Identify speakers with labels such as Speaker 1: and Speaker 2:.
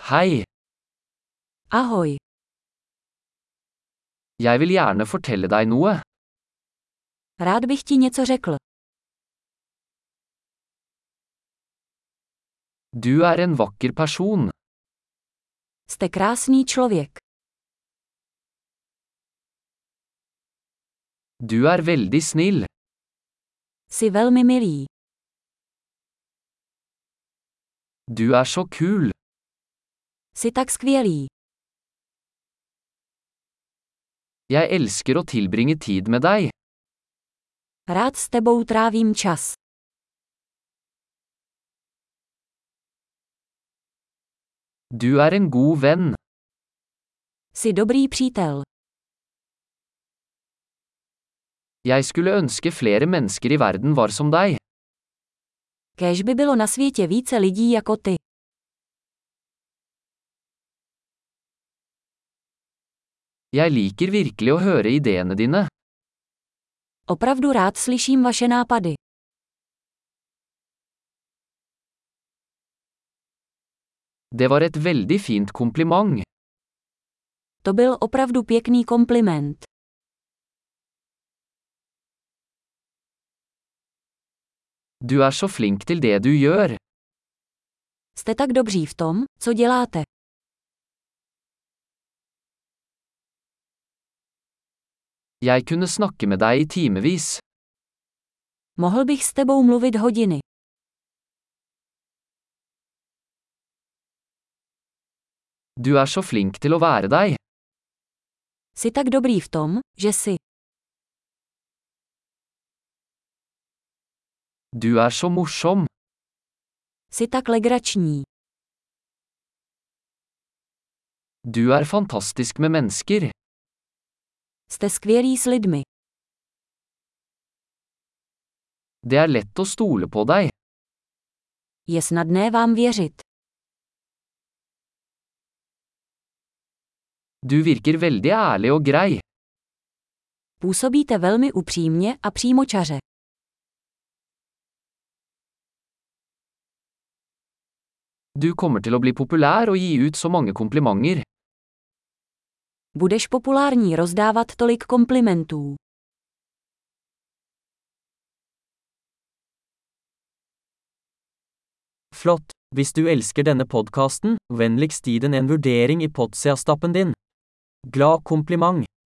Speaker 1: Hei,
Speaker 2: Ahoj,
Speaker 1: jeg vil gjerne fortelle deg noe.
Speaker 2: rád bych ti něco řekl.
Speaker 1: Du er en vakker person.
Speaker 2: Jste krásný člověk.
Speaker 1: Du er veldig snill.
Speaker 2: Jsi velmi milý.
Speaker 1: Du er så kul.
Speaker 2: Jsi tak skvělý.
Speaker 1: Jeg elsker å tilbringe tid med deg.
Speaker 2: Rád s tebou trávím čas.
Speaker 1: Du er en god venn.
Speaker 2: Jsi dobrý přítel.
Speaker 1: Jeg skulle ønske flere mennesker i verden var som deg.
Speaker 2: Kéž by bylo na světě více lidí jako ty.
Speaker 1: Jeg liker virkelig å høre ideene dine.
Speaker 2: Opravdu rád slyším vaše nápady.
Speaker 1: Det var et veldig fint kompliment.
Speaker 2: To byl opravdu pěkný kompliment.
Speaker 1: Du er så flink til det du gjør.
Speaker 2: Jste tak dobří v tom, co děláte.
Speaker 1: Jeg kunne snakke med deg i timevis.
Speaker 2: Mohl bych s tebou mluvit hodiny.
Speaker 1: Du er så flink til å være deg.
Speaker 2: Jsi tak dobrý v tom, že jsi.
Speaker 1: Du er så morsom.
Speaker 2: Jsi tak legrační.
Speaker 1: Du er fantastisk med mennesker.
Speaker 2: Jste skvělí s lidmi.
Speaker 1: Det er lett å stole på deg.
Speaker 2: Je snadné vám věřit.
Speaker 1: Du virker veldig ærlig og grei.
Speaker 2: Působíte velmi upřímně a přímočaře.
Speaker 1: Du kommer til å bli populær og gi ut så mange komplimenter.
Speaker 2: Budeš populární rozdávat tolik komplimentů.
Speaker 3: Flott! Hvis du elsker denne podkasten, vennligst gi den en vurdering i Podseastappen din. Glad kompliment!